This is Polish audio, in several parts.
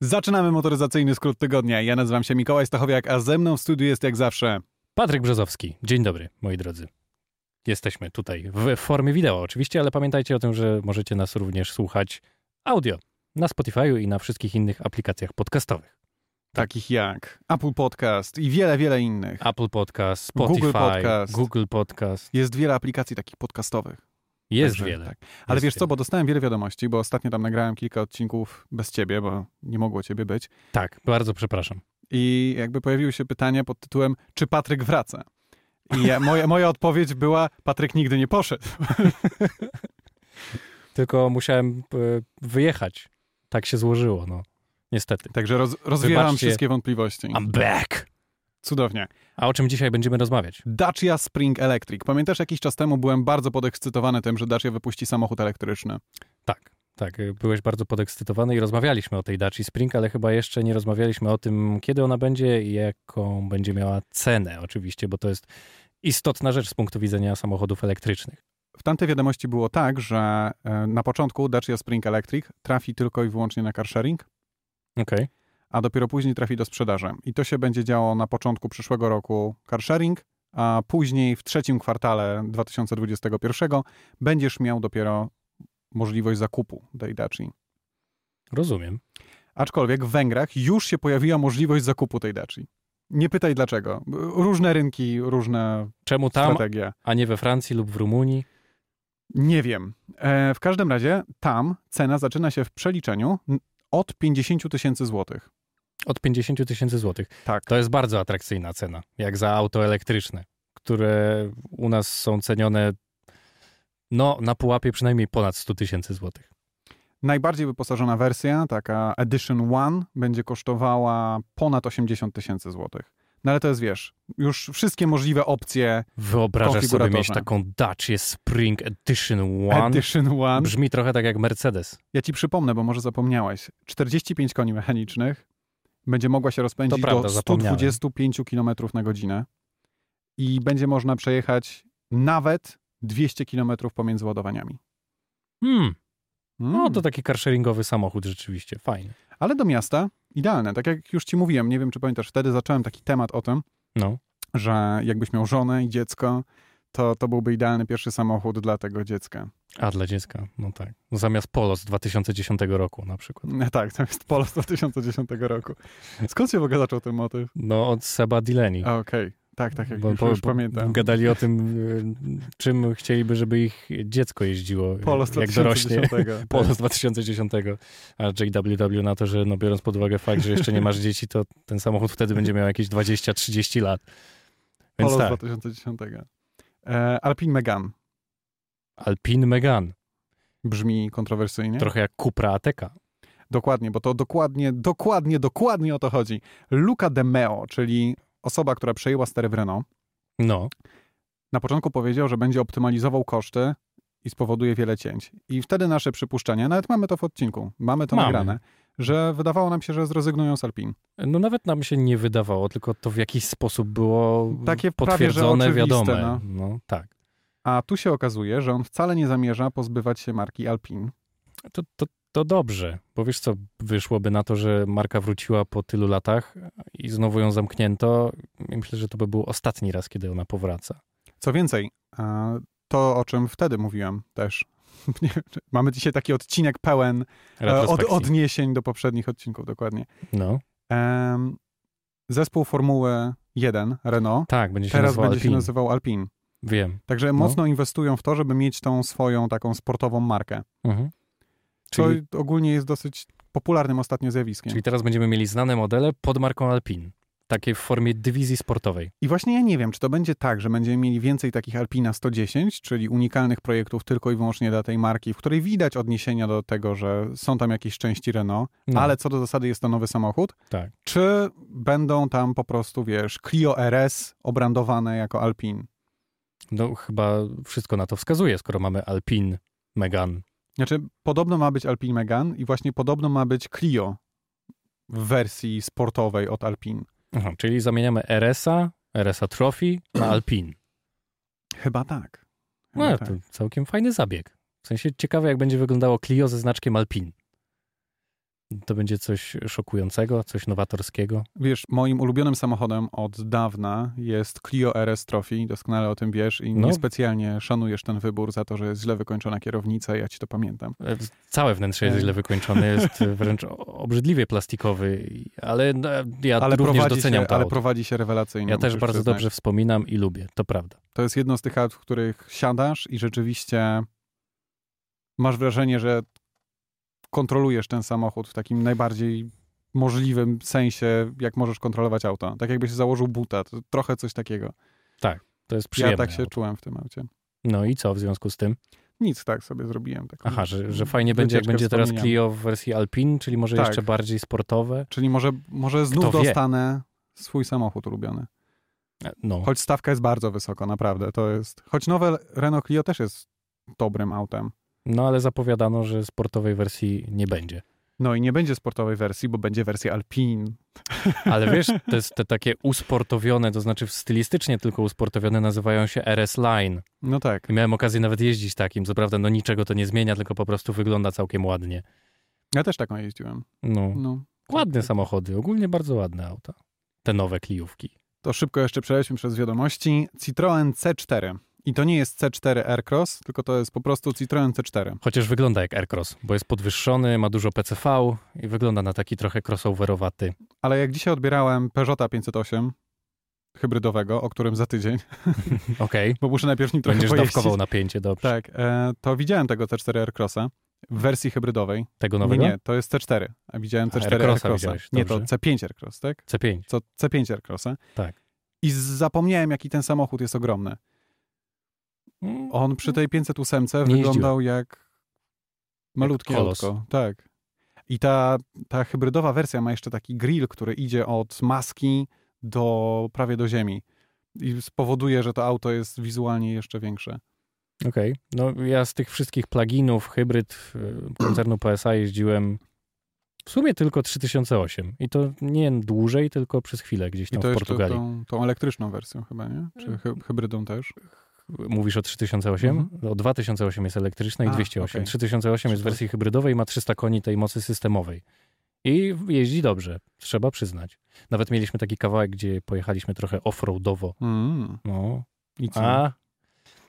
Zaczynamy motoryzacyjny skrót tygodnia. Ja nazywam się Mikołaj Stachowiak, a ze mną w studiu jest jak zawsze. Patryk Brzozowski. Dzień dobry, moi drodzy. Jesteśmy tutaj w formie wideo oczywiście, ale pamiętajcie o tym, że możecie nas również słuchać audio na Spotify'u i na wszystkich innych aplikacjach podcastowych. Takich jak Apple Podcast i wiele, wiele innych. Apple Podcast, Spotify, Google Podcast. Google Podcast. Jest wiele aplikacji takich podcastowych. Jest Także wiele. tak. Ale Jest wiesz co, wiele. bo dostałem wiele wiadomości, bo ostatnio tam nagrałem kilka odcinków bez ciebie, bo nie mogło ciebie być. Tak, bardzo przepraszam. I jakby pojawiły się pytania pod tytułem, czy Patryk wraca? I ja, moja, moja odpowiedź była, Patryk nigdy nie poszedł. Tylko musiałem e, wyjechać. Tak się złożyło, no. Niestety. Także roz, rozwiewam Wybaczcie. wszystkie wątpliwości. I'm back! Cudownie. A o czym dzisiaj będziemy rozmawiać? Dacia Spring Electric. Pamiętasz, jakiś czas temu byłem bardzo podekscytowany tym, że Dacia wypuści samochód elektryczny. Tak, tak. y, Byłeś bardzo podekscytowany i rozmawialiśmy o tej Daci Spring, ale chyba jeszcze nie rozmawialiśmy o tym, kiedy ona będzie i jaką będzie miała cenę, oczywiście, bo to jest istotna rzecz z punktu widzenia samochodów elektrycznych. W tamtej wiadomości było tak, że e, na początku Dacia Spring Electric trafi tylko i wyłącznie na car sharing, Okej. a dopiero później trafi do sprzedaży. I to się będzie działo na początku przyszłego roku car sharing, a później w trzecim kwartale 2021 będziesz miał dopiero możliwość zakupu tej Daci. Rozumiem. Aczkolwiek w Węgrach już się pojawiła możliwość zakupu tej Daci. Nie pytaj dlaczego. Różne rynki, różne Czemu tam, strategie. a nie we Francji lub w Rumunii? Nie wiem. E, w każdym razie tam cena zaczyna się w przeliczeniu n- od 50 tysięcy złotych. Od 50 000 tysięcy złotych. Tak. To jest bardzo atrakcyjna cena, jak za auto elektryczne, które u nas są cenione no, na pułapie przynajmniej ponad 100 tysięcy złotych. Najbardziej wyposażona wersja, taka Edition One, będzie kosztowała ponad 80 tysięcy złotych. No ale to jest, wiesz, już wszystkie możliwe opcje Wyobrażasz sobie mieć Konfiguratorze. taką Dacia Spring Edition One? Edition One. Brzmi trochę tak jak Mercedes. Ja ci przypomnę, bo może zapomniałeś. 45 koni mechanicznych będzie mogła się rozpędzić To prawda, do zapomniałem. 125 km na godzinę i będzie można przejechać nawet 200 km pomiędzy ładowaniami. Hmm, Mm. no to taki carsharingowy samochód rzeczywiście, fajny. Ale do miasta idealne. Tak jak już ci mówiłem, nie wiem czy pamiętasz, wtedy zacząłem taki temat o tym, No, że jakbyś miał żonę i dziecko, to to byłby idealny pierwszy samochód dla tego dziecka. a dla dziecka, no tak. Zamiast Polo z 2010 roku na przykład. No tak, to jest Polo z 2010 roku. Skąd się w ogóle zaczął ten motyw? No od Seba Dileni. A, Okej, tak, tak, jak już, już pamiętam. Gadali o tym, y, czym chcieliby, żeby ich dziecko jeździło, Polo z jak dorośnie. 2010. Polo Tak. z 2010, a JWW na to, że no biorąc pod uwagę fakt, że jeszcze nie masz dzieci, to ten samochód wtedy będzie miał jakieś 20-30 lat. Więc Polo z tak, 2010. E, Alpine Megan Alpine Megane, brzmi kontrowersyjnie. trochę jak Cupra Ateca. Dokładnie, bo to dokładnie, dokładnie, dokładnie o to chodzi. Luca De Meo, czyli osoba, która przejęła stery w Renault, No, na początku powiedział, że będzie optymalizował koszty i spowoduje wiele cięć. I wtedy nasze przypuszczenia, nawet mamy to w odcinku, mamy to Mamy. nagrane, że wydawało nam się, że zrezygnują z Alpine. No nawet nam się nie wydawało, tylko to w jakiś sposób było Takie prawie, że potwierdzone, oczywiste, wiadome. no. No. tak. A tu się okazuje, że on wcale nie zamierza pozbywać się marki Alpine. To, to, to dobrze, bo wiesz co, wyszłoby na to, że marka wróciła po tylu latach i znowu ją zamknięto. I Myślę, że to by był ostatni raz, kiedy ona powraca. Co więcej, e, to o czym wtedy mówiłem też. Nie wiem, czy- Mamy dzisiaj taki odcinek pełen e, od, Retrospekcji. odniesień do poprzednich odcinków, dokładnie. No, Em, Zespół Formuły 1 Renault tak, będzie się teraz nazywał będzie się Alpine. No. nazywał Alpine. Wiem. Także mocno inwestują w to, żeby mieć tą swoją taką sportową markę. Mhm. Co Czyli, ogólnie jest dosyć popularnym ostatnio zjawiskiem. czyli teraz będziemy mieli znane modele pod marką Alpine. Takiej w formie dywizji sportowej. I właśnie ja nie wiem, czy to będzie tak, że będziemy mieli więcej takich Alpina 110, czyli unikalnych projektów tylko i wyłącznie dla tej marki, w której widać odniesienia do tego, że są tam jakieś części Renault, No. ale co do zasady jest to nowy samochód. Tak. Czy będą tam po prostu, wiesz, Clio RS obrandowane jako Alpine? No chyba wszystko na to wskazuje, skoro mamy Alpine, Megane. Znaczy, podobno ma być Alpine Megane i właśnie podobno ma być Clio w wersji sportowej od Alpine. Aha, czyli zamieniamy RS-a, RS-a Trophy na Alpine. Chyba tak. Chyba No, tak. to całkiem fajny zabieg. W sensie ciekawe, jak będzie wyglądało Clio ze znaczkiem Alpine. To będzie coś szokującego, coś nowatorskiego. Wiesz, moim ulubionym samochodem od dawna jest Clio RS Trophy. Doskonale o tym wiesz i No. niespecjalnie szanujesz ten wybór za to, że jest źle wykończona kierownica. Ja ci to pamiętam. E, Całe wnętrze jest E. źle wykończone, jest wręcz o- obrzydliwie plastikowy, i- ale no, ja również doceniam się, to ale auto. prowadzi się rewelacyjnie. Ja też musisz bardzo przyznać. dobrze wspominam i lubię, to prawda. To jest jedno z tych aut, w których siadasz i rzeczywiście masz wrażenie, że kontrolujesz ten samochód w takim najbardziej możliwym sensie, jak możesz kontrolować auto. Tak jakbyś założył buta, to trochę coś takiego. To jest przyjemne. Ja tak się auto. czułem w tym aucie. No i co w związku z tym? Nic tak mm. sobie zrobiłem. Taką Aha, że, że fajnie będzie, jak wycieczkę będzie teraz wspomnienia. Clio w wersji Alpine, czyli może Tak. jeszcze bardziej sportowe. Czyli może, może znów Kto wie? dostanę swój samochód ulubiony. E, No, Choć stawka jest bardzo wysoko, naprawdę. To jest. Choć nowe Renault Clio też jest dobrym autem. no ale zapowiadano, że sportowej wersji nie będzie. No i nie będzie sportowej wersji, bo będzie wersja Alpine. Ale wiesz, te, te takie usportowione, to znaczy stylistycznie tylko usportowione, nazywają się RS Line. No tak. I miałem okazję nawet jeździć takim. Co prawda, no niczego to nie zmienia, tylko po prostu wygląda całkiem ładnie. Ja też taką jeździłem. No, No. ładne tak. samochody, ogólnie bardzo ładne auta. Te nowe Cliówki. To szybko jeszcze przeleśmy przez wiadomości. Citroen C4. I to nie jest C4 Aircross, tylko to jest po prostu Citroen C4. Chociaż wygląda jak Aircross, bo jest podwyższony, ma dużo PCV i wygląda na taki trochę crossoverowaty. Ale jak dzisiaj odbierałem Peugeota 508 hybrydowego, o którym za tydzień, Okej, bo muszę najpierw nim trochę będziesz pojeździć. dawkował napięcie, dobrze. Tak, e, to widziałem tego C4 Aircrossa w wersji hybrydowej. Tego Nie, nowego? No nie, to jest C4. A widziałem A, C4 Aircrossa Aircrossa. widziałeś, nie, to dobrze. C5 Aircross, tak? C5. Co C5 Aircrossa. Tak. I z- zapomniałem, jaki ten samochód jest ogromny. Mm, On przy tej 508 Nie wyglądał jak malutkie Jak kolos. autko. Tak. I ta, ta hybrydowa wersja ma jeszcze taki grill, który idzie od maski do prawie do ziemi. I spowoduje, że to auto jest wizualnie jeszcze większe. Okej. No ja z tych wszystkich pluginów, hybryd y, koncernu PSA jeździłem w sumie tylko 3008. I to nie dłużej, tylko przez chwilę gdzieś I tam to No, w jeszcze Portugalii. tą, tą elektryczną wersją chyba, nie? Czy hy, hybrydą też? Mówisz o 3008? O 2008 jest elektryczna i Mhm. A, 208. okej. 3008 jest w wersji hybrydowej i ma 300 koni tej mocy systemowej. I jeździ dobrze, trzeba przyznać. Nawet mieliśmy taki kawałek, gdzie pojechaliśmy trochę off-roadowo. Mm. No, I co? A,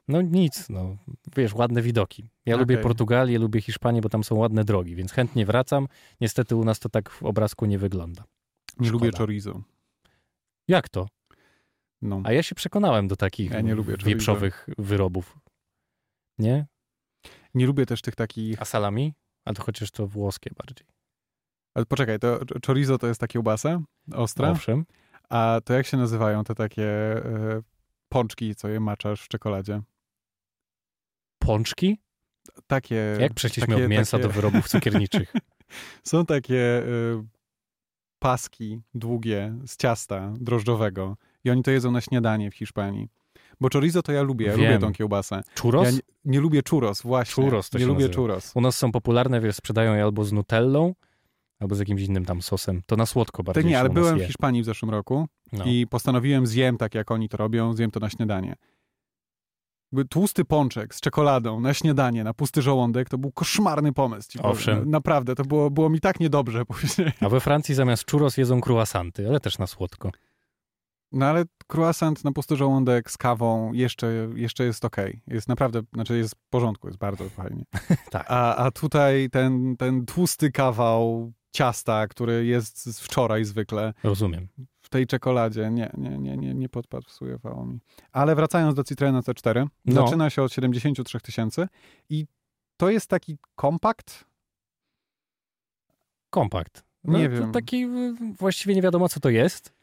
no nic, no. Wiesz, ładne widoki. Ja lubię Okej. Portugalię, lubię Hiszpanię, bo tam są ładne drogi, więc chętnie wracam. Niestety u nas to tak w obrazku nie wygląda. nie lubię szkoda. chorizo. Jak to? No. A ja się przekonałem do takich Ja nie lubię chorizo. wieprzowych wyrobów. Nie? Nie lubię też tych takich... A salami? A to chociaż to włoskie bardziej. Ale poczekaj, to chorizo to jest ta kiełbasa ostra? Owszem. A to jak się nazywają te takie e, pączki, co je maczasz w czekoladzie? Pączki? Takie. Jak przeszliśmy E, takie- od mięsa takie- do wyrobów cukierniczych? Są takie e, paski długie z ciasta drożdżowego i oni to jedzą na śniadanie w Hiszpanii. Bo chorizo to ja lubię, ja Wiem. lubię tą kiełbasę. Churros? Ja nie, nie lubię churros, właśnie. Churros to nie się lubię nazywa. churros. U nas są popularne, wiesz, sprzedają je albo z nutellą, albo z jakimś innym tam sosem. To na słodko bardziej Tak nie, się ale u nas byłem w je. Hiszpanii w zeszłym roku No. i postanowiłem zjem tak, jak oni to robią, zjem to na śniadanie. Jakby Tłusty pączek z czekoladą na śniadanie, na pusty żołądek, to był koszmarny pomysł. Ci powiem. No, Owszem. Naprawdę, to było, było mi tak niedobrze później. No. A we Francji zamiast churros jedzą croissanty, ale też na słodko. No ale croissant na pusty żołądek z kawą jeszcze, jeszcze jest okej. Jest naprawdę, znaczy jest w porządku, jest bardzo fajnie. Tak. A, a tutaj ten, ten tłusty kawał ciasta, który jest z wczoraj zwykle, Rozumiem. w tej czekoladzie. Nie, nie, nie, nie, nie podpasowywało mi. Ale wracając do Citroena C4, No. zaczyna się od 73 tysięcy i to jest taki kompakt? Kompakt. Nie to wiem. Taki y, właściwie nie wiadomo, co to jest.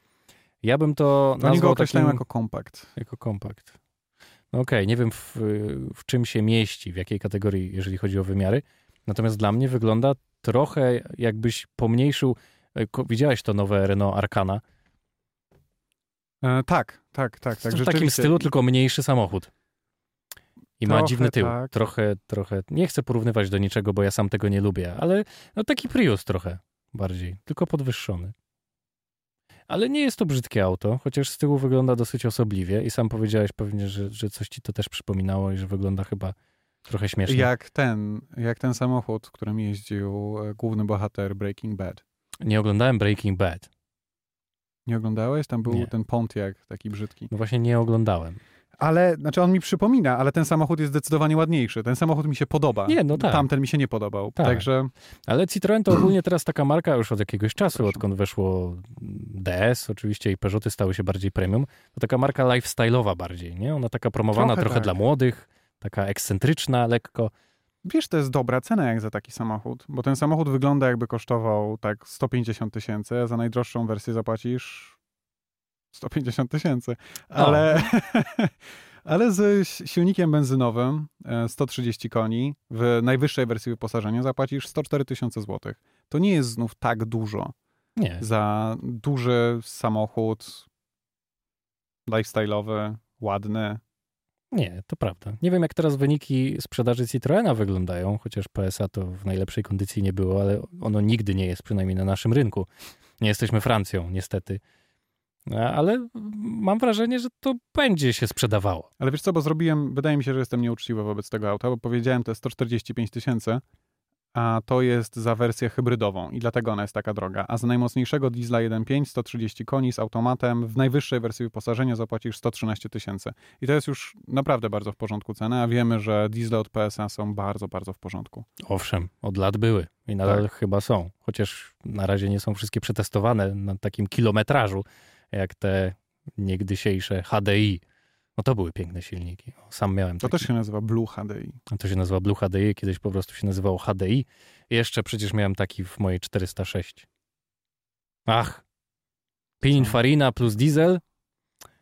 Ja bym to Oni go nazwał określają takim... jako kompakt. jako kompakt. No okej, nie wiem w, w czym się mieści, w jakiej kategorii, jeżeli chodzi o wymiary. Natomiast dla mnie wygląda trochę jakbyś pomniejszył... y, ko- Widziałeś to nowe Renault Arcana? E, tak, tak, tak. tak w takim rzeczywiście. stylu, tylko mniejszy samochód. I ma Trochę dziwny tył. tak. Trochę, trochę. Nie chcę porównywać do niczego, bo ja sam tego nie lubię, ale no taki Prius trochę bardziej, tylko podwyższony. Ale nie jest to brzydkie auto, chociaż z tyłu wygląda dosyć osobliwie i sam powiedziałeś pewnie, że, że coś ci to też przypominało i że wygląda chyba Trochę śmieszne. Jak ten, jak ten samochód, którym jeździł e, główny bohater Breaking Bad. Nie oglądałem Breaking Bad. Nie oglądałeś? Tam był Nie. ten Pontiac taki brzydki. No właśnie nie oglądałem. Ale, znaczy on mi przypomina, ale ten samochód jest zdecydowanie ładniejszy. Ten samochód mi się podoba. Nie, no tak. Tamten mi się nie podobał. Tak. Także Ale Citroen to ogólnie teraz taka marka już od jakiegoś czasu, Przepraszam. odkąd weszło DS oczywiście i Peugeoty stały się bardziej premium. To taka marka lifestyle'owa bardziej, nie? Ona taka promowana trochę, Trochę tak. dla młodych, taka ekscentryczna lekko. wiesz, to jest dobra cena jak za taki samochód, bo ten samochód wygląda jakby kosztował tak 150 tysięcy, a za najdroższą wersję zapłacisz 150 tysięcy. Ale, ale z silnikiem benzynowym e, 130 koni w najwyższej wersji wyposażenia zapłacisz 104 tysiące złotych. To nie jest znów tak dużo. Nie, za duży samochód lifestyle'owy, ładny. nie, to prawda. Nie wiem jak teraz wyniki sprzedaży Citroena wyglądają, chociaż PSA to w najlepszej kondycji nie było, ale ono nigdy nie jest, przynajmniej na naszym rynku. Nie jesteśmy Francją, niestety. A- Ale mam wrażenie, że to będzie się sprzedawało. Ale wiesz co, bo zrobiłem, wydaje mi się, że jestem nieuczciwy wobec tego auta, bo powiedziałem to jest 145 tysięcy, a to jest za wersję hybrydową i dlatego ona jest taka droga. A za najmocniejszego diesla 1.5, 130 koni z automatem, w najwyższej wersji wyposażenia zapłacisz 113 tysięcy. I to jest już naprawdę bardzo w porządku cena, a wiemy, że diesle od PSA są bardzo, bardzo w porządku. Owszem, od lat były i nadal Tak. chyba są. Chociaż na razie nie są wszystkie przetestowane na takim kilometrażu, jak te niegdysiejsze HDI. No to były piękne silniki. O, Sam miałem To taki. też się nazywa Blue HDI. To się nazywa Blue HDI, kiedyś po prostu się nazywało HDI. Jeszcze przecież miałem taki w mojej 406. Ach, Pininfarina plus diesel,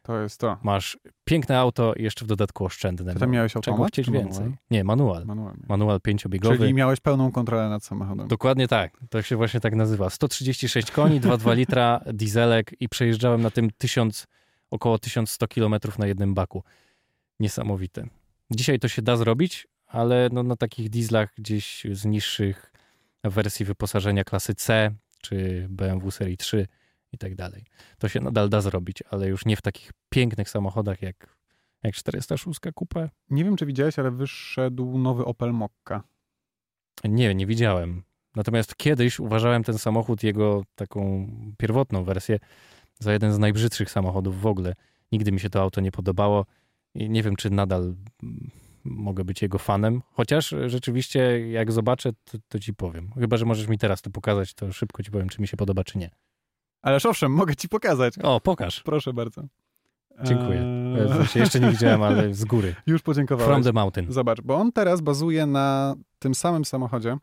To jest to. masz piękne auto i jeszcze w dodatku oszczędne. No, Ty tam miałeś Czego automat? chcieć czy manual? więcej? Nie, manual. Manual. Manual pięciobiegowy. Czyli miałeś pełną kontrolę nad samochodem. Dokładnie tak. To się właśnie tak nazywa. 136 koni, 2,2 litra, dieselek i przejeżdżałem na tym 1000, około 1100 km na jednym baku. Niesamowite. Dzisiaj to się da zrobić, ale no, na takich dieslach gdzieś z niższych wersji wyposażenia klasy C czy BMW serii 3 i tak dalej. To się nadal da zrobić, ale już nie w takich pięknych samochodach jak, jak 406 Coupe. Nie wiem, czy widziałeś, ale wyszedł nowy Opel Mokka. Nie, nie widziałem. Natomiast kiedyś uważałem ten samochód, jego taką pierwotną wersję, za jeden z najbrzydszych samochodów w ogóle. Nigdy mi się to auto nie podobało i nie wiem, czy nadal mm, mogę być jego fanem. Chociaż e, rzeczywiście, jak zobaczę, to, to ci powiem. Chyba, że możesz mi teraz to pokazać, to szybko ci powiem, czy mi się podoba, czy nie. Ależ owszem, mogę ci pokazać. O, pokaż. Proszę bardzo. Dziękuję. Eee, Ja E, w sensie Jeszcze nie widziałem, ale z góry. Już From podziękowałem. the mountain. Zobacz, bo on teraz bazuje na tym samym samochodzie,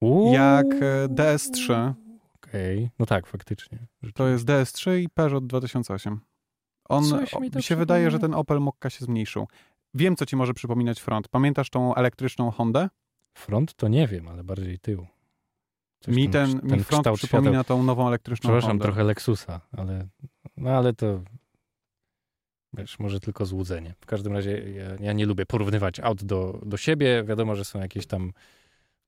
Uuu. jak e, DS3. Okej, no tak, faktycznie. To jest DS3 i Peugeot 2008. On Coś mi to mi się przypomina. wydaje, że ten Opel Mokka się zmniejszył. Wiem, co ci może przypominać front. Pamiętasz tą elektryczną Hondę? Front to nie wiem, ale bardziej tył. Coś Mi tam ten, kształt- mi front kształt przypomina świateł. tą nową elektryczną Przepraszam, Hondę. trochę Lexusa, ale, no ale to wiesz, może tylko złudzenie. W każdym razie ja, ja nie lubię porównywać aut do, do siebie. Wiadomo, że są jakieś tam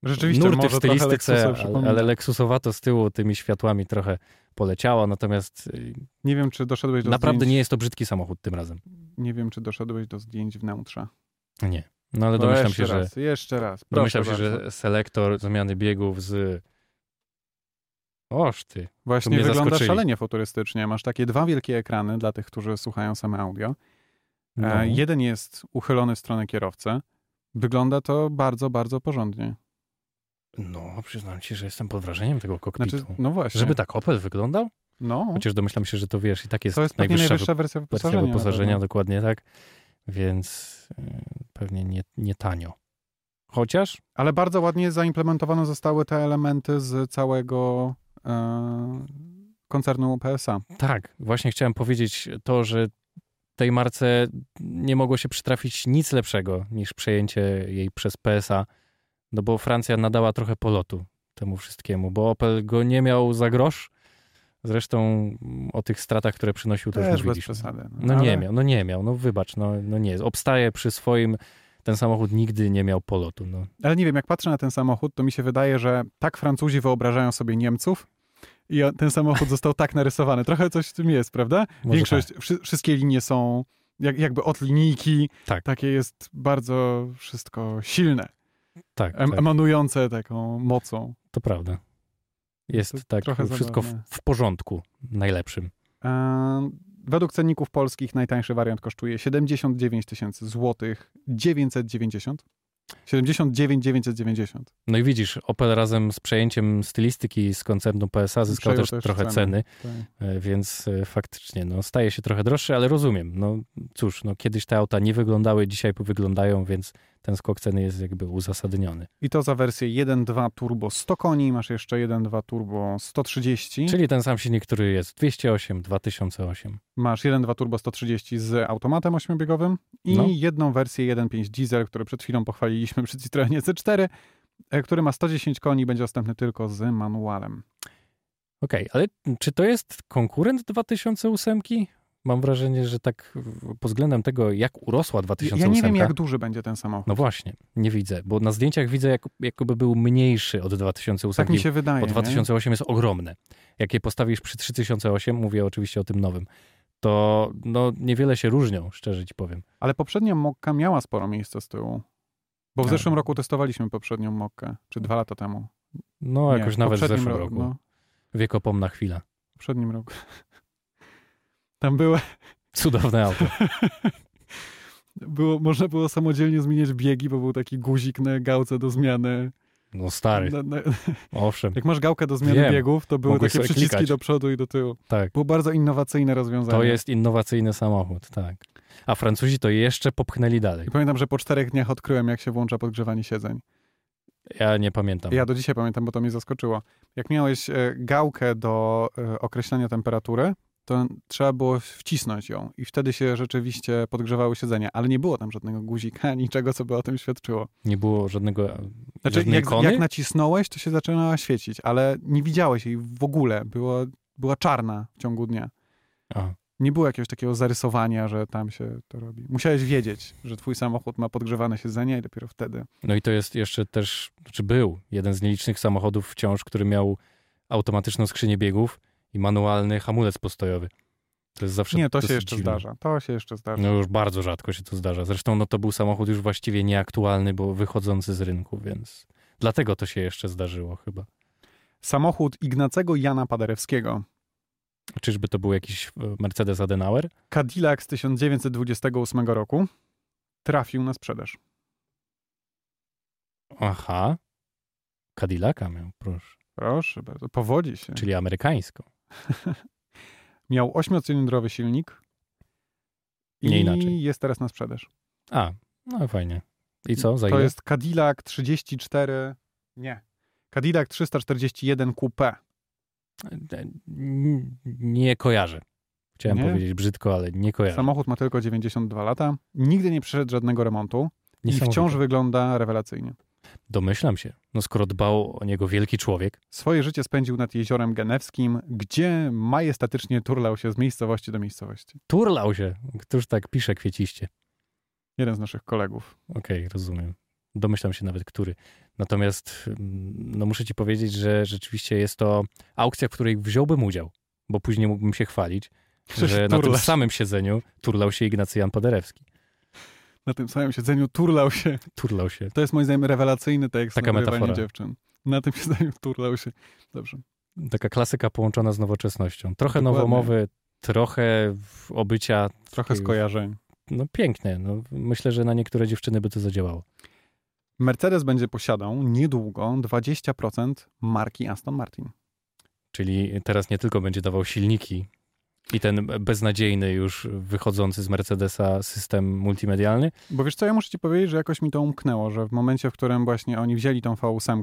Rzeczywiście, nurty w może trochę Lexusa stylistyce, ale, przypomina. ale Lexusowato z tyłu tymi światłami trochę poleciała, natomiast y, Nie wiem, czy doszedłeś do naprawdę zdjęć. nie jest to brzydki samochód tym razem. Nie wiem, czy doszedłeś do zdjęć wnętrza. Nie. No ale No, domyślam jeszcze się, że, raz, Jeszcze raz. Proszę domyślam się, bardzo. że selektor zmiany biegów z... Oż ty. Właśnie mnie wygląda zaskoczyli. szalenie futurystycznie. Masz takie dwa wielkie ekrany dla tych, którzy słuchają same audio. No. E, jeden jest uchylony w stronę kierowcy. Wygląda to bardzo, bardzo porządnie. No, przyznam ci, że jestem pod wrażeniem tego kokpitu. Znaczy, no właśnie. Żeby tak Opel wyglądał? no, Chociaż domyślam się, że to wiesz, i tak jest, to jest pewnie najwyższa najwyższa wersja wy- wersja wyposażenia. tak, no. wyposażenia, na pewno. dokładnie tak. Więc y, pewnie nie, nie tanio. Chociaż Ale bardzo ładnie zaimplementowane zostały te elementy z całego e, koncernu PSA. tak, właśnie chciałem powiedzieć to, że tej marce nie mogło się przytrafić nic lepszego niż przejęcie jej przez PSA, no bo Francja nadała trochę polotu temu wszystkiemu, bo Opel go nie miał za grosz. Zresztą mm, o tych stratach, które przynosił, to już Też bez mówiliśmy. przesady. No nie ale- miał, no nie miał, no wybacz, no, no nie. Obstaje przy swoim, ten samochód nigdy nie miał polotu. No. Ale nie wiem, jak patrzę na ten samochód, to mi się wydaje, że tak Francuzi wyobrażają sobie Niemców i on- ten samochód został tak narysowany. Trochę coś w tym jest, prawda? Może Większość, wszy, wszystkie linie są jak, jakby od linijki. Tak. Takie jest bardzo wszystko silne, Tak, em, tak emanujące taką mocą. to prawda. To Jest tak trochę wszystko w, zabawne. w porządku, najlepszym. E, Według cenników polskich najtańszy wariant kosztuje 79 tysięcy złotych 990. 79 990. No i widzisz, Opel razem z przejęciem stylistyki z koncernu PSA zyskał Przejął też, też trochę ceny. ceny. Tak. E, więc e, faktycznie no, staje się trochę droższy, ale rozumiem. No cóż, no, kiedyś te auta nie wyglądały, dzisiaj wyglądają, więc ten skok ceny jest jakby uzasadniony. I to za wersję 1.2 turbo 100 koni, masz jeszcze 1.2 turbo 130, Czyli ten sam silnik, który jest 208, 2008. masz 1.2 turbo 130 z automatem ośmiobiegowym i No. jedną wersję 1.5 diesel, który przed chwilą pochwaliliśmy przy Citroenie C4, e, który ma 110 koni i będzie dostępny tylko z manualem. Okej, ale czy to jest konkurent 2008? Mam wrażenie, że tak w- pod względem tego, jak urosła Ja 2008. ja nie wiem, jak duży będzie ten samochód. tak? No właśnie, nie widzę, bo na zdjęciach widzę, jak, jakby był mniejszy od 2008. tak mi się wydaje. bo nie? 2008 jest ogromne. Jak je postawisz przy 3008, mówię oczywiście o tym nowym, to no, niewiele się różnią, szczerze ci powiem. Ale poprzednia Mokka miała sporo miejsca z tyłu. Bo w Tak. zeszłym roku testowaliśmy poprzednią Mokkę, czy dwa lata temu. No, Nie, jakoś nawet w poprzednim zeszłym ro- roku. No, Wiekopomna chwila. w poprzednim roku. Tam były Cudowne auto. Było, można było samodzielnie zmieniać biegi, bo był taki guzik na gałce do zmiany. No stary, Na, na, owszem, jak masz gałkę do zmiany Wiem. biegów, to były Mogłeś takie sobie przyciski klikać. do przodu i do tyłu. tak. Było bardzo innowacyjne rozwiązanie. To jest innowacyjny samochód, tak. A Francuzi to jeszcze popchnęli dalej. I pamiętam, że po czterech dniach odkryłem, jak się włącza podgrzewanie siedzeń. Ja nie pamiętam. Ja do dzisiaj pamiętam, bo to mnie zaskoczyło. Jak miałeś e, gałkę do e, określania temperatury, to trzeba było wcisnąć ją i wtedy się rzeczywiście podgrzewały siedzenia, ale nie było tam żadnego guzika, niczego, co by o tym świadczyło. Nie było żadnego... Znaczy, żadnej jak, ikony? jak nacisnąłeś, to się zaczynała świecić, ale nie widziałeś jej w ogóle. Była, była czarna w ciągu dnia. A, Nie było jakiegoś takiego zarysowania, że tam się to robi. Musiałeś wiedzieć, że twój samochód ma podgrzewane siedzenia i dopiero wtedy. No i to jest jeszcze też, czy był jeden z nielicznych samochodów wciąż, który miał automatyczną skrzynię biegów i manualny hamulec postojowy. To jest zawsze Nie, to się dosyć jeszcze dziwne. zdarza. To się jeszcze zdarza. No już bardzo rzadko się to zdarza. Zresztą no to był samochód już właściwie nieaktualny, bo wychodzący z rynku, więc dlatego to się jeszcze zdarzyło chyba. Samochód Ignacego Jana Paderewskiego. Czyżby to był jakiś e, Mercedes Adenauer? Cadillac z 1928 roku. Trafił na sprzedaż. Aha. Cadillaca miał, proszę. Proszę bardzo, powodzi się. Czyli amerykańską. Miał ośmiocylindrowy silnik. I Nie inaczej. jest teraz na sprzedaż. A, no fajnie. I co, za To ile? jest Cadillac 34. Nie. Cadillac 341 Coupe. N- Nie kojarzę. Chciałem Nie? powiedzieć brzydko, ale nie kojarzę. Samochód ma tylko 92 lata. Nigdy nie przeszedł żadnego remontu i Niesamowite. wciąż wygląda rewelacyjnie. Domyślam się. No skoro dbał o niego wielki człowiek, Swoje życie spędził nad jeziorem genewskim, gdzie majestatycznie turlał się z miejscowości do miejscowości. turlał się. Któż tak pisze kwieciście? Jeden z naszych kolegów. Okej, rozumiem. Domyślam się nawet, który. Natomiast mm, no muszę ci powiedzieć, że rzeczywiście jest to aukcja, w której wziąłbym udział, bo później mógłbym się chwalić, że na tym turlasz. samym siedzeniu turlał się Ignacy Jan Paderewski. Na tym samym siedzeniu turlał się. Turlał się. To jest moim zdaniem rewelacyjny tekst Taka na wygrywanie metafora. dziewczyn. Na tym siedzeniu turlał się. Dobrze. Taka klasyka połączona z nowoczesnością. Trochę Dokładnie. nowomowy, trochę w- obycia Trochę Takiego- skojarzeń. No pięknie. No, myślę, że na niektóre dziewczyny by to zadziałało. Mercedes będzie posiadał niedługo 20% marki Aston Martin. Czyli teraz nie tylko będzie dawał silniki i ten beznadziejny już wychodzący z Mercedesa system multimedialny. Bo wiesz co, ja muszę ci powiedzieć, że jakoś mi to umknęło, że w momencie, w którym właśnie oni wzięli tą V8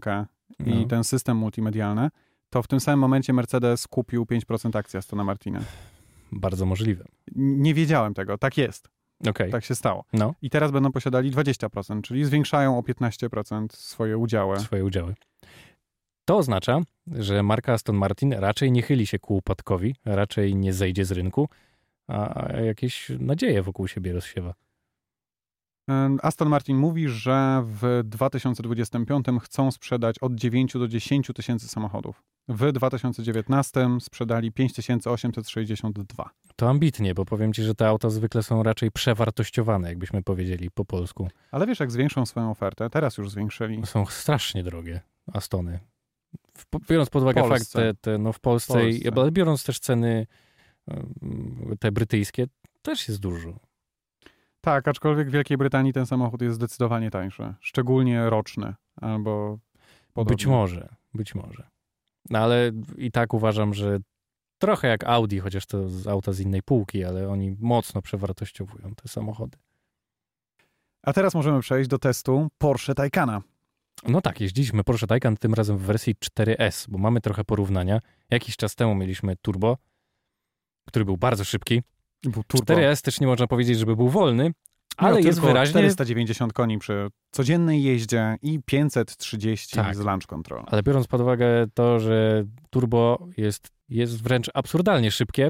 No, i ten system multimedialny, to w tym samym momencie Mercedes kupił 5% akcji Astona Martina. Bardzo możliwe. N- Nie wiedziałem tego, tak jest, Okej. tak się stało. No, I teraz będą posiadali 20%, czyli zwiększają o 15% swoje udziały. swoje udziały. To oznacza, że marka Aston Martin raczej nie chyli się ku upadkowi, raczej nie zejdzie z rynku, a a jakieś nadzieje wokół siebie rozsiewa. Aston Martin mówi, że w 2025 chcą sprzedać od 9 do 10 tysięcy samochodów. W 2019 sprzedali 5862. To ambitnie, bo powiem ci, że te auta zwykle są raczej przewartościowane, jakbyśmy powiedzieli po polsku. Ale wiesz, jak zwiększą swoją ofertę? Teraz już zwiększyli. Są strasznie drogie Astony. W- Biorąc pod uwagę Polsce. fakt, te, te, no w Polsce, Polsce. i- ale biorąc też ceny mm, te brytyjskie, też jest dużo. Tak, aczkolwiek w Wielkiej Brytanii ten samochód jest zdecydowanie tańszy. Szczególnie roczny albo podobny. Być może, być może. No ale i tak uważam, że trochę jak Audi, chociaż to z auta z innej półki, ale oni mocno przewartościowują te samochody. A teraz możemy przejść do testu Porsche Taycana. No tak, jeździliśmy Porsche Taycan tym razem w wersji 4S, bo mamy trochę porównania. Jakiś czas temu mieliśmy turbo, który był bardzo szybki. Był turbo. 4S też nie można powiedzieć, żeby był wolny, ale Miał jest tylko wyraźnie... 490 koni przy codziennej jeździe i 530 Tak. z lunch control. Ale biorąc pod uwagę to, że turbo jest, jest wręcz absurdalnie szybkie,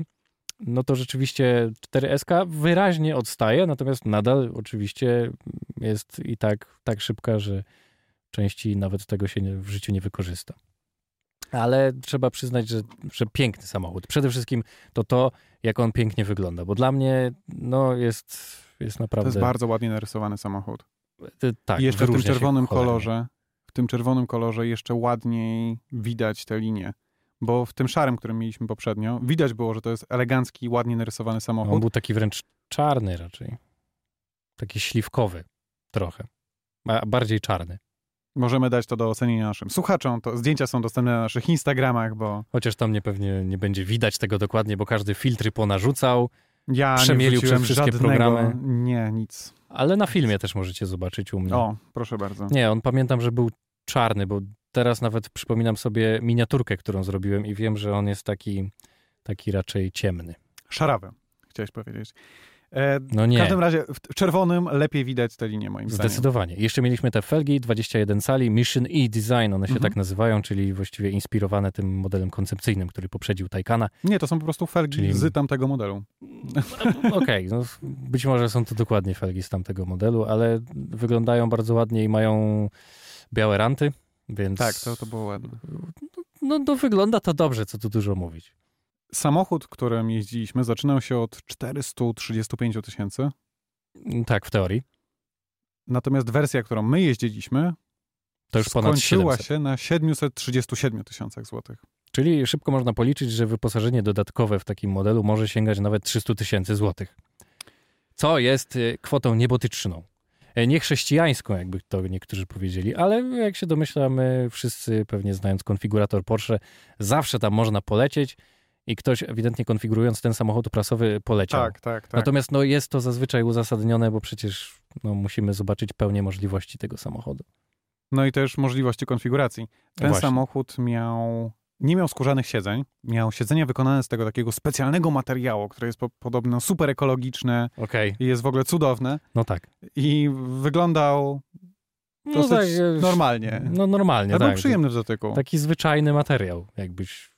no to rzeczywiście 4SK wyraźnie odstaje, natomiast nadal oczywiście jest i tak, tak szybka, że części nawet tego się nie, w życiu nie wykorzysta. Ale trzeba przyznać, że, że piękny samochód. Przede wszystkim to to, jak on pięknie wygląda, bo dla mnie no, jest, jest To naprawdę... jest bardzo ładnie narysowany samochód. y, tak, I jeszcze w tym wyróżnia się czerwonym cholernie. kolorze, w tym czerwonym kolorze jeszcze ładniej widać te linie. Bo w tym szarym, którym mieliśmy poprzednio, widać było, że to jest elegancki, ładnie narysowany On samochód. był taki wręcz czarny raczej. Taki śliwkowy trochę. A bardziej czarny. Możemy dać to do ocenienia naszym słuchaczom. To zdjęcia są dostępne na naszych Instagramach, bo Chociaż tam nie pewnie nie będzie widać tego dokładnie, bo każdy filtry ponarzucał, ja nie Przemielił przez wrzuciłem wszystkie żadnego... programy. Nie, nic. ale na filmie też możecie zobaczyć u mnie. O, proszę bardzo. No. Nie, on pamiętam, że był czarny, bo teraz nawet przypominam sobie miniaturkę, którą zrobiłem i wiem, że on jest taki, taki raczej ciemny. Szarawy, chciałeś powiedzieć. E, No W nie, każdym razie w czerwonym lepiej widać te linie moim zdaniem. zdecydowanie. Jeszcze mieliśmy te felgi 21 cali, Mission E Design, one się Mhm. tak nazywają, czyli właściwie inspirowane tym modelem koncepcyjnym, który poprzedził Taycana. Nie, to są po prostu felgi Czyli- z tamtego modelu. No, Okej, no, być może są to dokładnie felgi z tamtego modelu, ale wyglądają bardzo ładnie i mają białe ranty, więc Tak, to, to było ładne. No, no wygląda to dobrze, co tu dużo mówić. Samochód, którym jeździliśmy, zaczynał się od 435 000 tysięcy, Tak, w teorii. natomiast wersja, którą my jeździliśmy, To już ponad skończyła 700. się na 737 000 tysiącach złotych. Czyli szybko można policzyć, że wyposażenie dodatkowe w takim modelu może sięgać nawet 300 tysięcy złotych. Co jest y, kwotą niebotyczną. E, Nie chrześcijańską, jakby to niektórzy powiedzieli, ale jak się domyślamy, wszyscy pewnie znając konfigurator Porsche, zawsze tam można polecieć i ktoś ewidentnie konfigurując ten samochód prasowy poleciał. Tak, tak, tak. Natomiast no, jest to zazwyczaj uzasadnione, bo przecież no, musimy zobaczyć pełnię możliwości tego samochodu. No i też możliwości konfiguracji. Ten Właśnie. samochód miał, nie miał skórzanych siedzeń, miał siedzenia wykonane z tego takiego specjalnego materiału, które jest po, podobno super ekologiczne Okej, i jest w ogóle cudowne. no tak. i wyglądał No dosyć tak, e, normalnie. No normalnie, Ale był tak. przyjemny w dotyku. Taki zwyczajny materiał, jakbyś.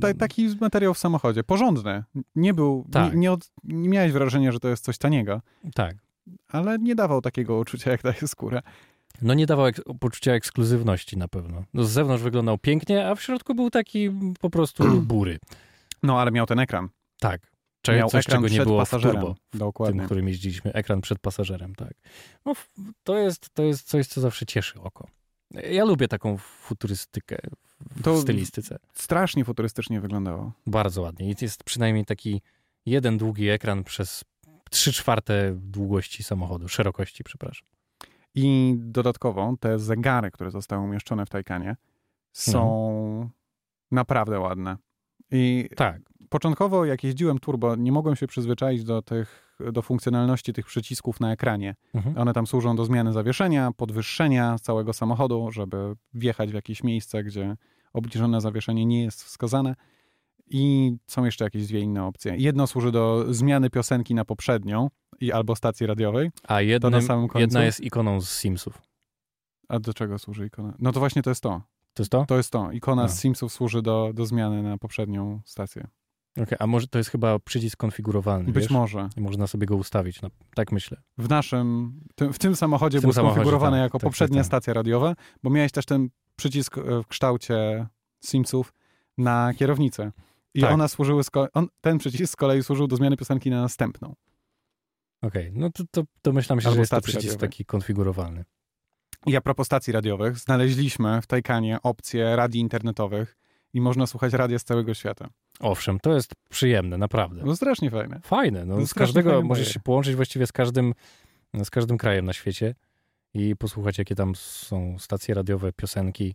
Ta, taki materiał w samochodzie. Porządny. Nie był, Tak. nie, nie, od, nie miałeś wrażenia, że to jest coś taniego, Tak. ale nie dawał takiego uczucia, jak daje skórę. No nie dawał ek- poczucia ekskluzywności na pewno. No, z zewnątrz wyglądał pięknie, a w środku był taki po prostu bury. No, ale miał ten ekran. Tak. Cze- miał coś, ekran czego nie przed było w pasażerem. turbo. Tym, Dokładnie. którym jeździliśmy, ekran przed pasażerem, tak. No, f- to, jest, to jest coś, co zawsze cieszy oko. Ja lubię taką futurystykę w To- stylistyce. Strasznie futurystycznie wyglądało. Bardzo ładnie. I Jest przynajmniej taki jeden długi ekran przez trzy czwarte długości samochodu, szerokości, przepraszam. I dodatkowo te zegary, które zostały umieszczone w Taycanie, są Mhm. naprawdę ładne. I Tak. początkowo, jak jeździłem turbo, nie mogłem się przyzwyczaić do tych, do funkcjonalności tych przycisków na ekranie. Mhm. One tam służą do zmiany zawieszenia, podwyższenia całego samochodu, żeby wjechać w jakieś miejsce, gdzie obniżone zawieszenie nie jest wskazane. I są jeszcze jakieś dwie inne opcje. Jedno służy do zmiany piosenki na poprzednią i albo stacji radiowej. A jednym, samym końcu? jedna jest ikoną z Simsów. A do czego służy ikona? No to właśnie to jest to. To jest to? To jest to. Ikona No. z Simsów służy do, do zmiany na poprzednią stację. Okej, a może to jest chyba przycisk konfigurowalny, Być wiesz? może. I można sobie go ustawić, no, tak myślę. W naszym, tym, w tym samochodzie W tym był samochodzie, skonfigurowany tak, jako tak, tak, poprzednie tak. stacje radiowe, bo miałeś też ten przycisk e, w kształcie Simsów na kierownicę. I Tak. ona służyły, z ko- on, ten przycisk z kolei służył do zmiany piosenki na następną. Okej, no to, to domyślam się, Albo że jest to stacji przycisk radiowej. taki konfigurowalny. I a propos stacji radiowych, znaleźliśmy w Tajkanie opcję radii internetowych i można słuchać radia z całego świata. Owszem, to jest przyjemne, naprawdę. No strasznie fajne. Fajne, To no, z strasznie każdego, fajny możesz bajer. się połączyć właściwie z każdym, z każdym krajem na świecie i posłuchać, jakie tam są stacje radiowe, piosenki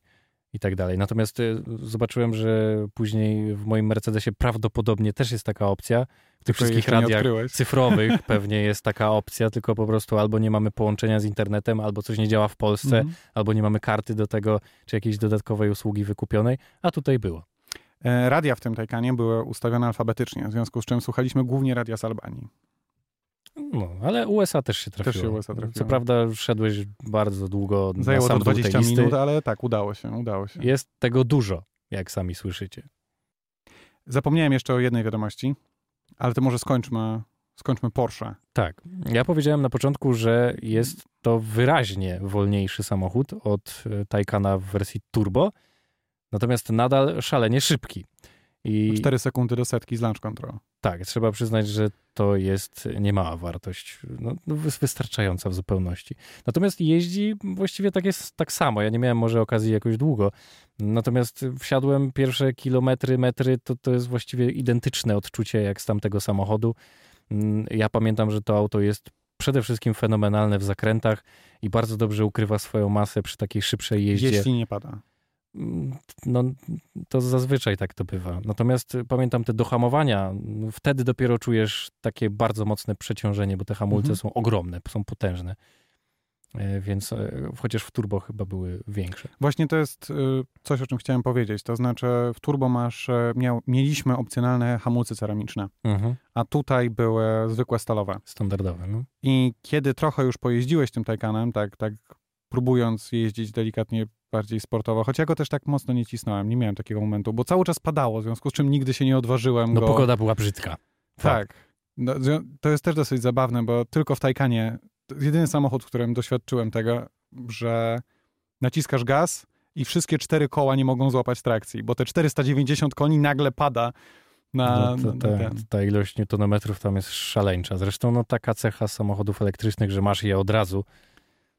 i tak dalej. Natomiast y, zobaczyłem, że później w moim Mercedesie prawdopodobnie też jest taka opcja, w tych Tylko jej wszystkich jeszcze nie radiach odkryłeś. cyfrowych pewnie jest taka opcja, tylko po prostu albo nie mamy połączenia z internetem, albo coś nie działa w Polsce, Mhm. albo nie mamy karty do tego, czy jakiejś dodatkowej usługi wykupionej, a tutaj było. E, Radia w tym Tajkanie były ustawione alfabetycznie, w związku z czym słuchaliśmy głównie radia z Albanii. No, ale USA też się trafiło. się USA trafiło. Co prawda szedłeś bardzo długo Zajęło na sam to dół 20 tej listy. minut, ale tak, udało się, udało się. Jest tego dużo, jak sami słyszycie. Zapomniałem jeszcze o jednej wiadomości, ale to może skończmy, skończmy Porsche. Tak. Ja powiedziałem na początku, że jest to wyraźnie wolniejszy samochód od e, Taycana w wersji turbo, natomiast nadal szalenie szybki. I 4 sekundy do setki z launch control. tak, trzeba przyznać, że to jest niemała wartość, no, no, wys- wystarczająca w zupełności. Natomiast jeździ właściwie tak jest tak samo. Ja nie miałem może okazji jakoś długo. Natomiast wsiadłem pierwsze kilometry, metry, to, to jest właściwie identyczne odczucie jak z tamtego samochodu. Mm, Ja pamiętam, że to auto jest przede wszystkim fenomenalne w zakrętach i bardzo dobrze ukrywa swoją masę przy takiej szybszej jeździe. Jeśli nie pada. Mm, No, to zazwyczaj tak to bywa. Natomiast y, pamiętam te dohamowania. no, Wtedy dopiero czujesz takie bardzo mocne przeciążenie, bo te hamulce Mhm. są ogromne, są potężne. E, Więc e, chociaż w turbo chyba były większe. Właśnie to jest y, coś, o czym chciałem powiedzieć. To znaczy w Turbo masz, y, miał, mieliśmy opcjonalne hamulce ceramiczne, Mhm. a tutaj były zwykłe stalowe. Standardowe. No. I kiedy trochę już pojeździłeś tym Taycanem, tak, tak próbując jeździć delikatnie bardziej sportowo, choć ja go też tak mocno nie cisnąłem, nie miałem takiego momentu, bo cały czas padało, w związku z czym nigdy się nie odważyłem no, go. pogoda była brzydka. Tak. No, w zwią- to jest też dosyć zabawne, bo tylko w Taycanie, to jest jedyny samochód, w którym doświadczyłem tego, że naciskasz gaz i wszystkie cztery koła nie mogą złapać trakcji, bo te 490 koni nagle pada na, No, to, na, na ta, ten. ta ilość newtonometrów tam jest szaleńcza. Zresztą no, taka cecha samochodów elektrycznych, że masz je od razu.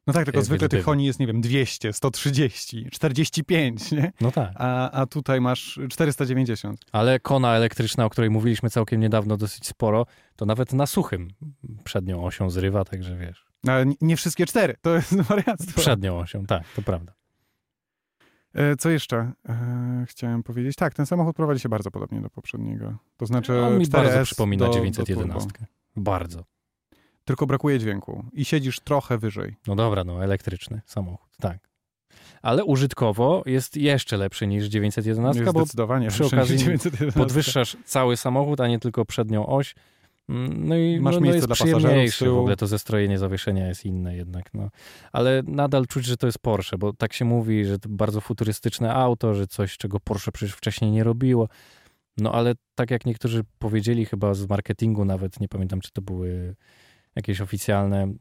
No tak, tylko e, zwykle tych wielbiego. koni jest, nie wiem, 200, 130, 45, nie? No tak. A, a tutaj masz 490. Ale kona elektryczna, o której mówiliśmy całkiem niedawno dosyć sporo, to nawet na suchym przednią osią zrywa, także wiesz. No, Ale nie- nie wszystkie cztery, to jest wariactwo. Przednią osią, tak, to prawda. E, Co jeszcze e, chciałem powiedzieć? Tak, ten samochód prowadzi się bardzo podobnie do poprzedniego. To znaczy On mi 4S bardzo przypomina do, Do 911. turbo. bardzo. Tylko brakuje dźwięku i siedzisz trochę wyżej. No dobra, no elektryczny samochód, tak. Ale użytkowo jest jeszcze lepszy niż 911, Jest bo zdecydowanie No, przy lepszy niż okazji 911. podwyższasz cały samochód, a nie tylko przednią oś. Mm, No i Masz no, no miejsce jest dla pasażerów z przyjemniejszy. W tyłu. ogóle to zestrojenie zawieszenia jest inne jednak. No. Ale nadal czuć, że to jest Porsche, bo tak się mówi, że to bardzo futurystyczne auto, że coś, czego Porsche przecież wcześniej nie robiło. No ale tak jak niektórzy powiedzieli chyba z marketingu nawet, nie pamiętam czy to były jakieś oficjalne mm,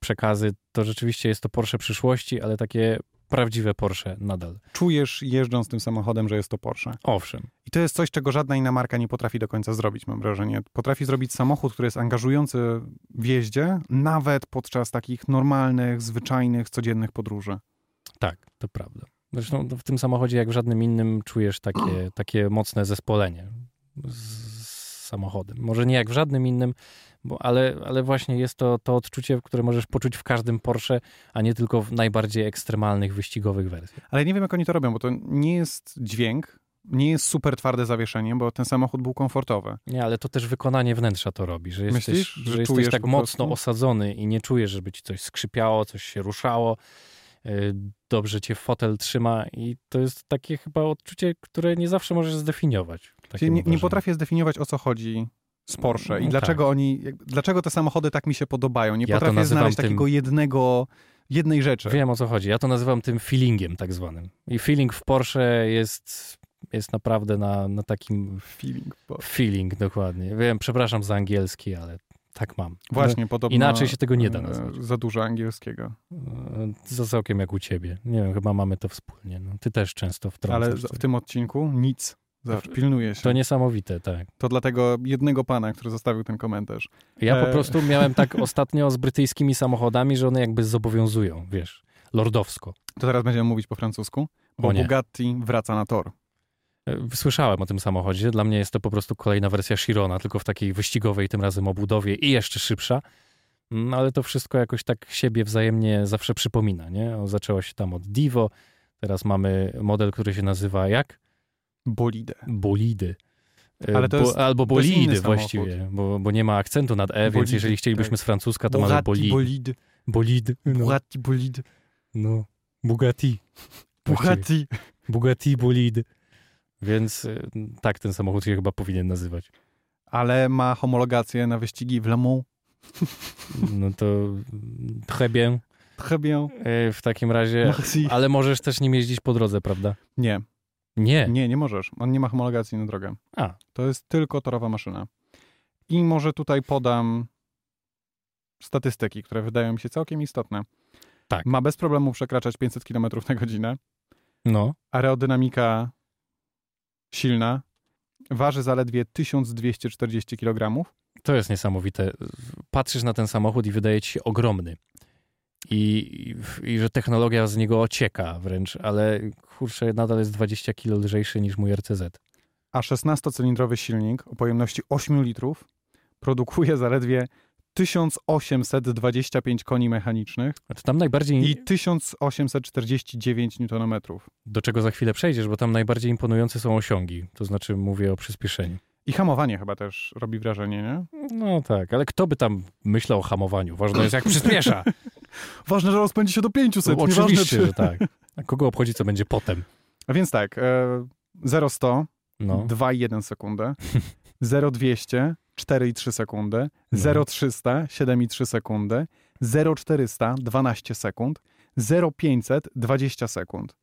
przekazy, to rzeczywiście jest to Porsche przyszłości, ale takie prawdziwe Porsche nadal. Czujesz jeżdżąc tym samochodem, że jest to Porsche. Owszem. I to jest coś, czego żadna inna marka nie potrafi do końca zrobić, mam wrażenie. Potrafi zrobić samochód, który jest angażujący w jeździe, nawet podczas takich normalnych, zwyczajnych, codziennych podróży. Tak, to prawda. Zresztą no, w tym samochodzie, jak w żadnym innym, czujesz takie, takie mocne zespolenie z z samochodem. Może nie jak w żadnym innym, bo, ale, ale właśnie jest to, to odczucie, które możesz poczuć w każdym Porsche, a nie tylko w najbardziej ekstremalnych, wyścigowych wersjach. Ale nie wiem, jak oni to robią, bo to nie jest dźwięk, nie jest super twarde zawieszenie, bo ten samochód był komfortowy. Nie, ale to też wykonanie wnętrza to robi, że jesteś, Myślisz, że że jesteś czujesz tak po mocno prostu? osadzony i nie czujesz, żeby ci coś skrzypiało, coś się ruszało, y, dobrze cię fotel trzyma i to jest takie chyba odczucie, które nie zawsze możesz zdefiniować. Czyli takim nie, nie wrażeniem. potrafię zdefiniować, o co chodzi z Porsche i No dlaczego oni, jak- dlaczego te samochody tak mi się podobają. Nie Ja to potrafię nazywam znaleźć tym- takiego jednego, jednej rzeczy. Wiem o co chodzi. Ja to nazywam tym feelingiem tak zwanym. I feeling w Porsche jest jest naprawdę na, na takim Feeling. Bo... feeling dokładnie. Wiem, przepraszam za angielski, ale tak mam. Właśnie, podobno... Inaczej się tego nie da e, nazwać. Za dużo angielskiego. E, Za całkiem jak u ciebie. Nie wiem, chyba mamy to wspólnie. No, ty też często wtrącasz. Ale za- w coś. tym odcinku nic. Zawsze pilnuje się. To To, niesamowite, tak. dlatego jednego pana, który zostawił ten komentarz. Ja po E. prostu miałem tak ostatnio z brytyjskimi samochodami, że one jakby zobowiązują, wiesz, lordowsko. To teraz będziemy mówić po francusku, bo O nie. Bugatti wraca na tor. E, Słyszałem o tym samochodzie. Dla mnie jest to po prostu kolejna wersja Chirona, tylko w takiej wyścigowej tym razem obudowie i jeszcze szybsza. Mm, Ale to wszystko jakoś tak siebie wzajemnie zawsze przypomina, nie? O, Zaczęło się tam od Divo, teraz mamy model, który się nazywa jak? Bolidę. Bolidy. E, Ale to bo- jest- albo to jest inny bolidy samochód. właściwie, bo, bo nie ma akcentu nad E, więc Bolidy, jeżeli chcielibyśmy tak. z francuska, to mamy Bugatti bolid. bolid. Bolid. No, Bugatti bolid. no. Bugatti. Właściwie. Bugatti. Bugatti Bolid. Więc y, tak ten samochód się chyba powinien nazywać. Ale ma homologację na wyścigi w Le Mans. No to mm, très bien Très bien. y, w takim razie. Merci. Ale możesz też nim jeździć po drodze, prawda? Nie, Nie. nie, nie możesz. On nie ma homologacji na drogę. A, To jest tylko torowa maszyna. I może tutaj podam statystyki, które wydają mi się całkiem istotne. Tak. Ma bez problemu przekraczać 500 km na godzinę. no. Aerodynamika silna. Waży zaledwie 1240 kg. To jest niesamowite. Patrzysz na ten samochód i wydaje ci się ogromny. I, i, I że technologia z niego ocieka wręcz, ale kurczę, nadal jest 20 kilo lżejszy niż mój RCZ. A 16-cylindrowy silnik o pojemności 8 litrów produkuje zaledwie 1825 koni mechanicznych A to tam najbardziej, i 1849 Nm. do czego za chwilę przejdziesz, bo tam najbardziej imponujące są osiągi. To znaczy mówię o przyspieszeniu. I hamowanie chyba też robi wrażenie, nie? No tak, ale kto by tam myślał o hamowaniu? Ważne jest, jak przyspiesza. Ważne, że rozpędzi się do 500, No, nieważne oczywiście, czy... że tak. A kogo obchodzi, co będzie potem? A więc tak, e, 0-100, No. 2,1 sekundę, 0-200, 4,3 sekundy, No. 0-300, 7,3 sekundy, 0-400, 12 sekund, 0-500, 20 sekund.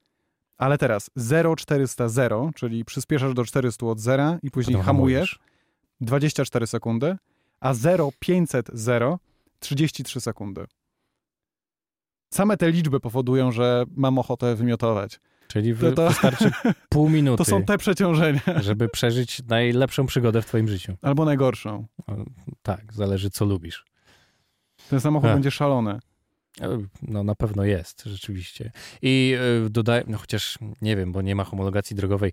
Ale teraz 0-400, 0, czyli przyspieszasz do 400 od zera i później Potem hamujesz, 24 sekundy, a 0-500, 0, 33 sekundy. Same te liczby powodują, że mam ochotę wymiotować. Czyli w, To, to, wystarczy pół minuty, to są te przeciążenia. żeby przeżyć najlepszą przygodę w twoim życiu. Albo najgorszą. Tak, zależy co lubisz. Ten samochód Tak. będzie szalony. E, No na pewno jest, rzeczywiście. I e, dodaję, no chociaż nie wiem, bo nie ma homologacji drogowej,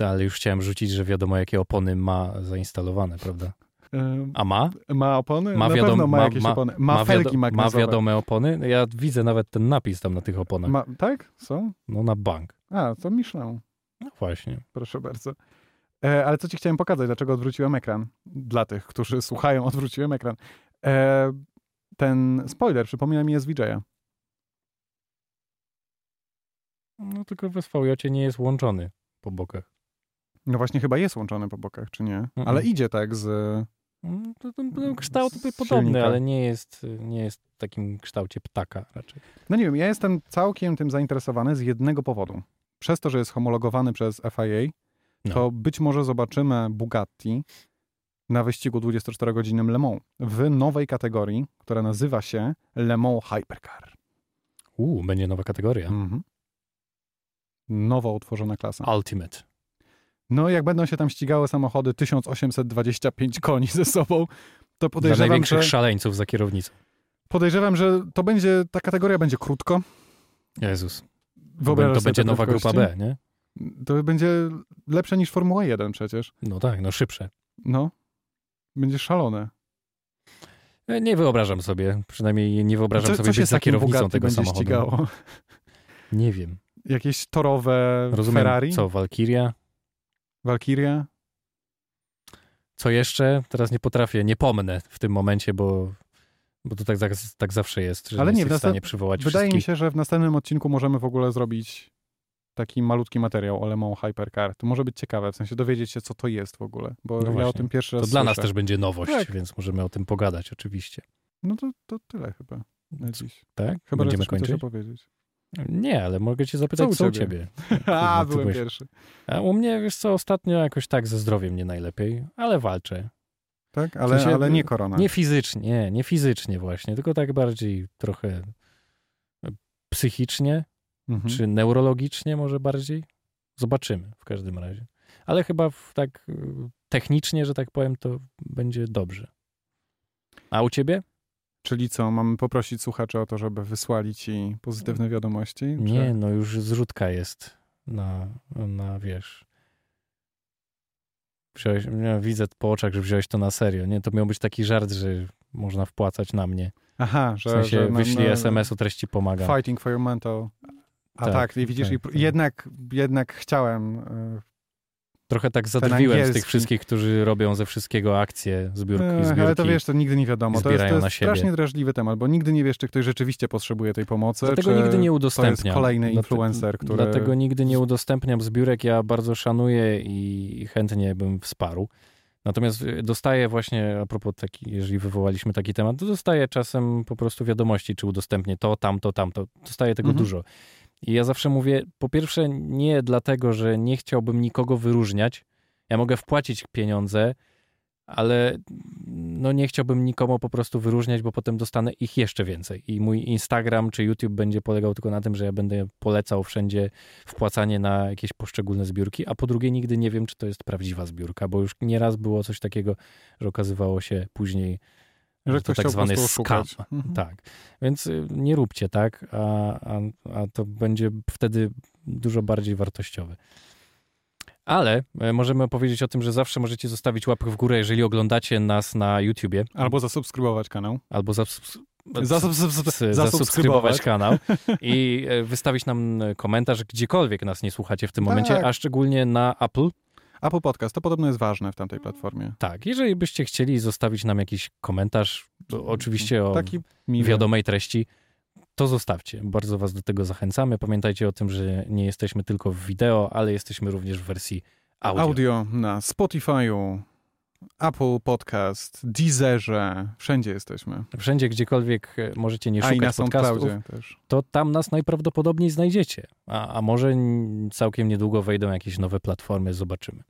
no, ale już chciałem rzucić, że wiadomo jakie opony ma zainstalowane, prawda? Ym, A ma? Ma opony? Ma Na wiadom- pewno ma, ma- jakieś ma- opony. Ma, felgi wiado- ma magnezowe. wiadome opony? Ja widzę nawet ten napis tam na tych oponach. Ma, tak? Są? No na bank. A, to Michelin. No właśnie. Proszę bardzo. E, ale co ci chciałem pokazać? Dlaczego odwróciłem ekran? Dla tych, którzy słuchają, odwróciłem ekran. E, ten spoiler przypomina mi SVJ-a. No tylko w SVJ nie jest łączony po bokach. No właśnie chyba jest łączony po bokach, czy nie? Mm. Ale idzie tak z... No, to, to, to kształt Z by podobny, silnika. ale nie jest, nie jest w takim kształcie ptaka raczej. No nie wiem, ja jestem całkiem tym zainteresowany z jednego powodu. Przez to, że jest homologowany przez FIA, No. to być może zobaczymy Bugatti na wyścigu 24-godzinnym Le Mans w nowej kategorii, która nazywa się Le Mans Hypercar. Uuu, będzie nowa kategoria. Mhm. Nowo utworzona klasa. Ultimate. No jak będą się tam ścigały samochody 1825 koni ze sobą, to Dla podejrzewam, największych że, szaleńców za kierownicą. podejrzewam, że to będzie, ta kategoria będzie krótko. Jezus. To, Wyobrażasz to sobie będzie nowa prędkości? grupa B, nie? To będzie lepsze niż Formuła 1 przecież. No tak, no szybsze. No. Będzie szalone. E, Nie wyobrażam sobie, przynajmniej nie wyobrażam co, sobie co być się z za takim kierownicą Bugatti tego będzie samochodu. ścigało? Nie wiem. Jakieś torowe Rozumiem, Ferrari, co, Walkiria? Valkyria? Co jeszcze? Teraz nie potrafię, nie pomnę w tym momencie, bo, bo to tak, tak, tak zawsze jest, że Ale nie, nie, jesteś w w stanie następ- przywołać Wydaje mi wszystkich. się, że w następnym odcinku możemy w ogóle zrobić taki malutki materiał o Le Mans Hypercar. To może być ciekawe, w sensie dowiedzieć się, co to jest w ogóle, bo No ja o właśnie. tym pierwszy To raz dla nas słyszę. też będzie nowość, Tak. więc możemy o tym pogadać oczywiście. No to, to tyle chyba na dziś. Tak? Chyba, Będziemy że chcesz mi coś kończyć? opowiedzieć. Nie, ale mogę cię zapytać, Co u co, u ciebie? ciebie? A, ty byłem byłeś- pierwszy. A u mnie, wiesz co, ostatnio jakoś tak ze zdrowiem nie najlepiej, ale walczę. Tak? Ale, sensie, ale nie korona. Nie fizycznie, nie, nie fizycznie właśnie, tylko tak bardziej trochę e, psychicznie, Mhm. czy neurologicznie może bardziej. Zobaczymy w każdym razie. Ale chyba w, tak y, technicznie, że tak powiem, to będzie dobrze. A u ciebie? Czyli co, mamy poprosić słuchaczy o to, żeby wysłali ci pozytywne wiadomości? Nie, no już zrzutka jest na, na wiesz. Wziąłeś, ja widzę po oczach, że wziąłeś to na serio. Nie, to miał być taki żart, że można wpłacać na mnie. Aha, W że... sensie że na- wyślij na- SMS o treści pomaga. Fighting for your mental... A tak, Tak, i widzisz, tak, i pr- tak. jednak, jednak chciałem... y, Trochę tak zadrwiłem z angielski. tych wszystkich, którzy robią ze wszystkiego akcje, zbiórki, Ech, zbiórki. Ale to wiesz, to nigdy nie wiadomo. To jest, zbierają to jest na siebie. strasznie drażliwy temat, bo nigdy nie wiesz, czy ktoś rzeczywiście potrzebuje tej pomocy, Dlatego czy nigdy nie to udostępniam. jest kolejny Dlate- influencer, który... Dlatego nigdy nie udostępniam zbiórek. Ja bardzo szanuję i chętnie bym wsparł. Natomiast y, dostaję właśnie, a propos taki, jeżeli wywołaliśmy taki temat, to dostaję czasem po prostu wiadomości, czy udostępnię to, tamto, tamto. Dostaję tego Mhm. dużo. I ja zawsze mówię, po pierwsze nie dlatego, że nie chciałbym nikogo wyróżniać. Ja mogę wpłacić pieniądze, ale no nie chciałbym nikomu po prostu wyróżniać, bo potem dostanę ich jeszcze więcej. I mój Instagram czy YouTube będzie polegał tylko na tym, że ja będę polecał wszędzie wpłacanie na jakieś poszczególne zbiórki, a po drugie nigdy nie wiem, czy to jest prawdziwa zbiórka, bo już nieraz było coś takiego, że okazywało się później, że to ktoś tak chciał po zwany prostu skam. oszukać. Mhm. Tak, więc y, nie róbcie tak, a, a, a to będzie wtedy dużo bardziej wartościowe. Ale e, możemy opowiedzieć o tym, że zawsze możecie zostawić łapkę w górę, jeżeli oglądacie nas na YouTubie, Albo zasubskrybować kanał. albo zasubs- Zasub, sub, sub, zasubskrybować, zasubskrybować. kanał i e, wystawić nam e, komentarz gdziekolwiek nas nie słuchacie w tym momencie, Tak. a szczególnie na Apple. Apple Podcast, to podobno jest ważne w tamtej platformie. Tak, jeżeli byście chcieli zostawić nam jakiś komentarz, to oczywiście o Taki miły. wiadomej treści, to zostawcie. Bardzo Was do tego zachęcamy. Pamiętajcie o tym, że nie jesteśmy tylko w wideo, ale jesteśmy również w wersji audio. Audio na Spotify'u, Apple Podcast, Deezerze, wszędzie jesteśmy. Wszędzie, gdziekolwiek e, możecie nie A i na szukać podcastów, SoundCloudzie też. to tam nas najprawdopodobniej znajdziecie. A, a może n- całkiem niedługo wejdą jakieś nowe platformy, zobaczymy.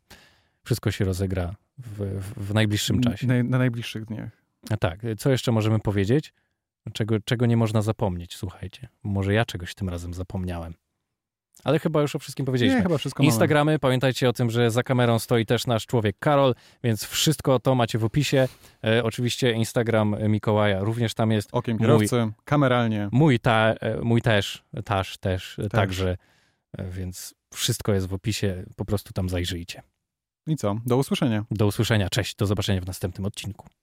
Wszystko się rozegra w, w, w najbliższym czasie. Na, na najbliższych dniach. A tak, co jeszcze możemy powiedzieć? Czego, czego nie można zapomnieć, słuchajcie. Może ja czegoś tym razem zapomniałem. Ale chyba już o wszystkim powiedzieliśmy. Nie, chyba wszystko mamy. Instagramy, pamiętajcie o tym, że za kamerą stoi też nasz człowiek Karol, więc wszystko to macie w opisie. E, oczywiście Instagram Mikołaja również tam jest. Okiem Mój- kierowcy, kameralnie. Mój, ta, e, mój też, też, też, e, także. E, więc wszystko jest w opisie, po prostu tam zajrzyjcie. I co? Do usłyszenia. Do usłyszenia, cześć, do zobaczenia w następnym odcinku.